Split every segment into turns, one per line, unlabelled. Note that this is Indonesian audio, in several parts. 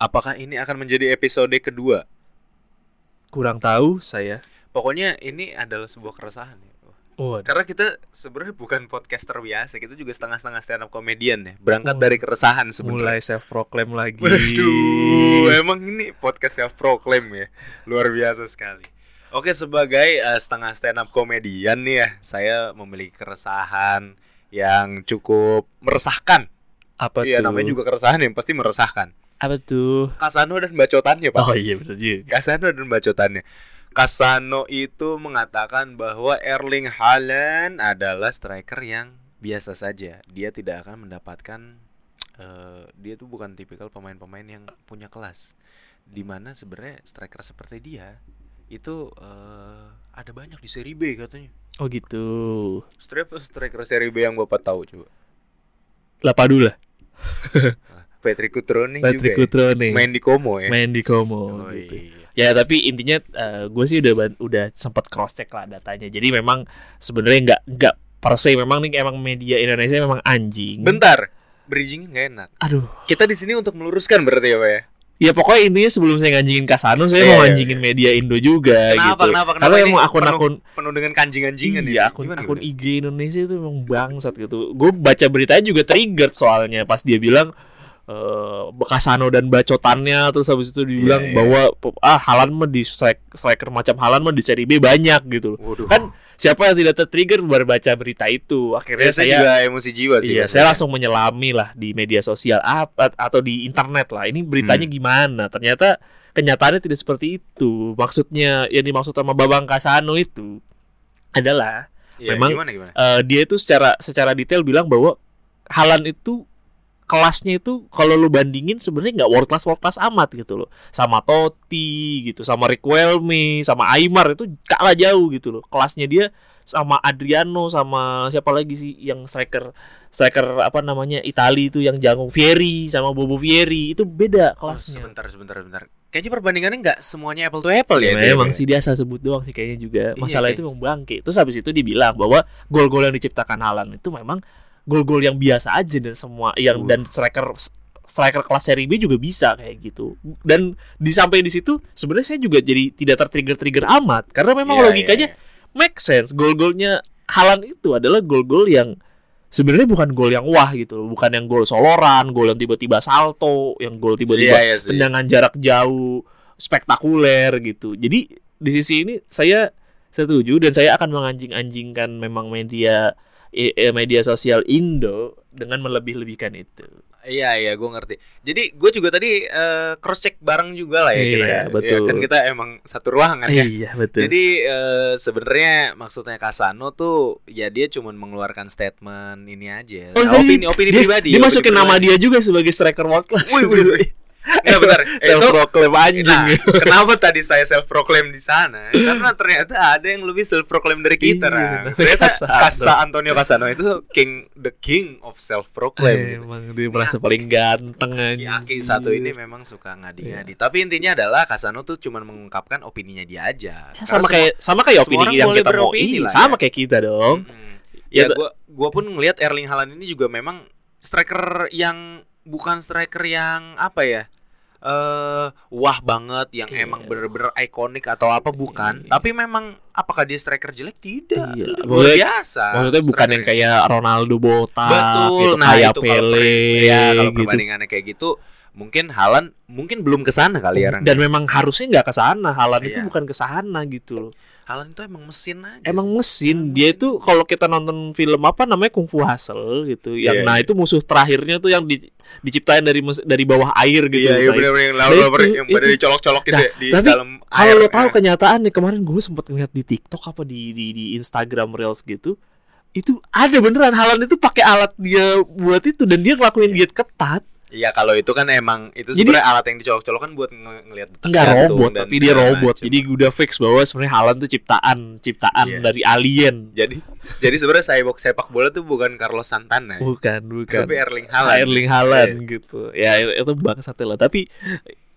Apakah ini akan menjadi episode kedua?
Kurang tahu saya.
Pokoknya ini adalah sebuah keresahan ya.
Oh,
Karena kita sebenarnya bukan podcaster biasa, kita juga setengah-setengah stand up comedian ya. Berangkat dari keresahan sebenarnya.
mulai self proclaim lagi.
Waduh, emang ini podcast self proclaim ya. Luar biasa sekali. Oke, sebagai eh, setengah stand up komedian nih ya, saya memiliki keresahan yang cukup meresahkan.
Apa
Iya,
tuh?
namanya juga keresahan yang pasti meresahkan.
Apa tuh?
Kasano dan bacotannya, Pak.
Oh iya betul juga.
Kasano dan bacotannya. Kasano itu mengatakan bahwa Erling Haaland adalah striker yang biasa saja. Dia tidak akan mendapatkan eh, dia tuh bukan tipikal pemain-pemain yang punya kelas. Dimana sebenarnya striker seperti dia itu eh, ada banyak di seri B katanya.
Oh gitu.
Striker striker seri B yang Bapak tahu coba.
Lapadula.
Patrick Cutrone
Patrick
juga. ya.
Cutrone.
Main di Como ya.
Main di Como.
Oh,
gitu.
iya.
Ya tapi intinya gue sih udah ban- udah sempat cross check lah datanya. Jadi memang sebenarnya nggak nggak per se memang nih emang media Indonesia memang anjing.
Bentar, bridgingnya nggak enak.
Aduh.
Kita di sini untuk meluruskan berarti ya Pak ya.
Ya pokoknya intinya sebelum saya nganjingin Kasano saya
Iya,
mau
iya,
nganjingin media Indo juga
Kenapa,
gitu.
kenapa, kenapa
Kalau
ini
emang akun-akun
Penuh dengan kanjing-anjingan
iya,
ini.
akun
Gimana,
akun
gimana?
IG Indonesia itu memang bangsat gitu. Gue baca beritanya juga triggered soalnya pas dia bilang eh Bekasano dan bacotannya terus habis itu dibilang
Iya, iya.
bahwa ah Halan mah di strike- striker macam Halan mah di seri B banyak gitu. loh.
Waduh.
Kan siapa yang tidak tertrigger baru baca berita itu?
Biasanya
Akhirnya saya
Iya, juga emosi jiwa sih.
Iya,
Pak.
saya langsung menyelami lah di media sosial apa atau di internet lah. Ini beritanya
Hmm.
gimana? Ternyata kenyataannya tidak seperti itu. Maksudnya yang dimaksud sama Babang Kasano itu adalah
Iya,
memang-
gimana gimana?
eh, dia itu secara secara detail bilang bahwa Halan itu kelasnya itu kalau lu bandingin sebenarnya nggak world class world class amat gitu loh. Sama Totti gitu, sama Riquelme, sama Aimar itu kalah jauh gitu loh. Kelasnya dia sama Adriano sama siapa lagi sih yang striker striker apa namanya Itali itu yang janggung Fieri sama Bobo Fieri itu beda
Oh,
kelasnya.
sebentar sebentar sebentar. Kayaknya perbandingannya nggak semuanya apple to apple ya.
Ya,
dia,
memang
Pak.
sih dia asal sebut doang sih kayaknya juga
Iya,
masalah
kayak-
itu memang bangke terus habis itu dibilang bahwa gol-gol yang diciptakan Halan itu memang gol-gol yang biasa aja dan semua yang
Uh.
dan striker striker kelas seri B juga bisa kayak gitu dan di sampai di situ sebenarnya saya juga jadi tidak tertrigger-trigger amat karena memang
Iya,
logikanya
iya, iya.
make sense gol-golnya Halan itu adalah gol-gol yang sebenarnya bukan gol yang wah gitu loh. bukan yang gol soloran gol yang tiba-tiba salto yang gol tiba-tiba
Iya, iya sih.
tendangan jarak jauh spektakuler gitu. Jadi di sisi ini saya setuju dan saya akan menganjing-anjingkan memang media eh, eh, media sosial Indo dengan melebih-lebihkan itu.
Iya iya, gue ngerti. Jadi gue juga tadi cross check bareng juga lah ya kita.
Iya,
ya.
betul.
Ya, kan kita emang satu ruangan ya.
Iya, betul.
Jadi eh, sebenarnya maksudnya Kasano tuh ya dia cuman mengeluarkan statement ini aja. Nah,
Oh, jadi
opini opini
dia,
pribadi.
dia
opini
masukin nama
pribadi.
dia juga sebagai striker world class.
Wih, wih, wih. Nggak, bentar. Eh,
Self
itu-
proclaim
Nah,
anjing.
kenapa tadi saya self proclaim di sana? Karena ternyata ada yang lebih self proclaim dari kita.
Iya,
Ram. ah.
namanya
ternyata
Casano.
Casa Antonio Casano itu king the king of self proclaim. Iya,
Emang dia merasa paling ganteng
Aki satu ini memang suka ngadi-ngadi.
Iya.
Tapi intinya adalah Casano tuh cuma mengungkapkan opininya dia aja.
Ya, sama
Karena
kayak sama
semua
kayak opini
orang
yang
boleh
kita mau.
beropini
Iya,
lah
sama
ya.
kayak kita dong.
Mm-mm. Ya
Gitu.
gua gua pun ngelihat Erling Haaland ini juga memang striker yang bukan striker yang apa ya? eh wah banget yang
Iya.
emang bener-bener ikonik atau apa bukan
Iya.
tapi memang apakah dia striker jelek tidak luar
Iya. Boleh-
biasa
Maksudnya bukan yang
Striker-
kayak Ronaldo botak
betul
gitu,
nah
kayak
itu kalau per-
Pele
ya, kalau
gitu.
perbandingannya kayak gitu mungkin Haaland mungkin belum ke sana kali ya Ran.
Dan memang harusnya nggak ke sana. Halan itu
Iya.
bukan ke sana gitu loh.
Haaland itu emang mesin aja
Emang gitu
sih. Iya.
mesin dia itu kalau kita nonton film apa namanya Kung Fu Hustle gitu.
Iya,
Yang nah
iya.
itu musuh terakhirnya tuh yang di- diciptain dari mes- dari bawah air gitu.
Iya, iya
Nah,
bener-bener yang
Nah,
lalu
itu-
yang pada
itu.
dicolok-colok gitu
Nah,
ya, di
tapi
dalam
Kalau
air. eh.
lo tahu kenyataan nih kemarin gue sempet ngeliat di TikTok apa di di, di Instagram Reels gitu itu ada beneran Halan itu pakai alat dia buat itu dan dia ngelakuin diet ketat
Iya kalau itu kan emang itu
Jadi-
sebenarnya alat yang dicolok-colok kan buat nge- ngelihat detak
Enggak
jantung
robot
dan
tapi dia
segala
robot
macem.
jadi udah fix bahwa sebenarnya Haaland tuh ciptaan ciptaan
Iya.
dari alien
jadi jadi sebenarnya cyborg sepak bola tuh bukan Carlos Santana ya,
bukan bukan
tapi Erling Haaland.
Erling Haaland gitu ya itu bangsatnya lah tapi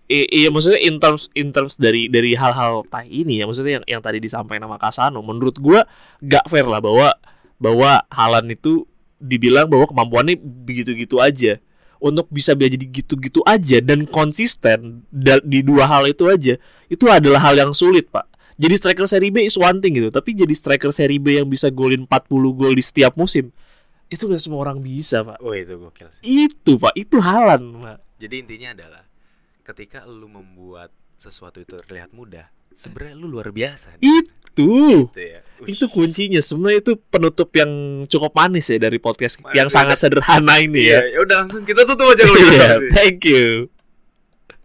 i- iya maksudnya in terms in terms dari dari hal-hal tai ini ya maksudnya yang yang tadi disampaikan sama Kasano menurut gua gak fair lah bahwa bahwa Haaland itu dibilang bahwa kemampuannya begitu-gitu aja untuk bisa biar jadi gitu-gitu aja dan konsisten da- di dua hal itu aja itu adalah hal yang sulit pak jadi striker seri B is one thing gitu tapi jadi striker seri B yang bisa golin 40 gol di setiap musim itu gak semua orang bisa pak
Oh itu gokil sih.
itu pak itu halan pak
Jadi intinya adalah ketika lu membuat sesuatu itu terlihat mudah, sebenarnya lu luar biasa.
itu
Gitu ya. Wih,
itu kuncinya sebenarnya itu penutup yang cukup manis ya dari podcast
Manis Iya.
yang
ya.
sangat sederhana ini ya
Iya, ya udah langsung kita tutup aja kalau gitu.
Iya, thank you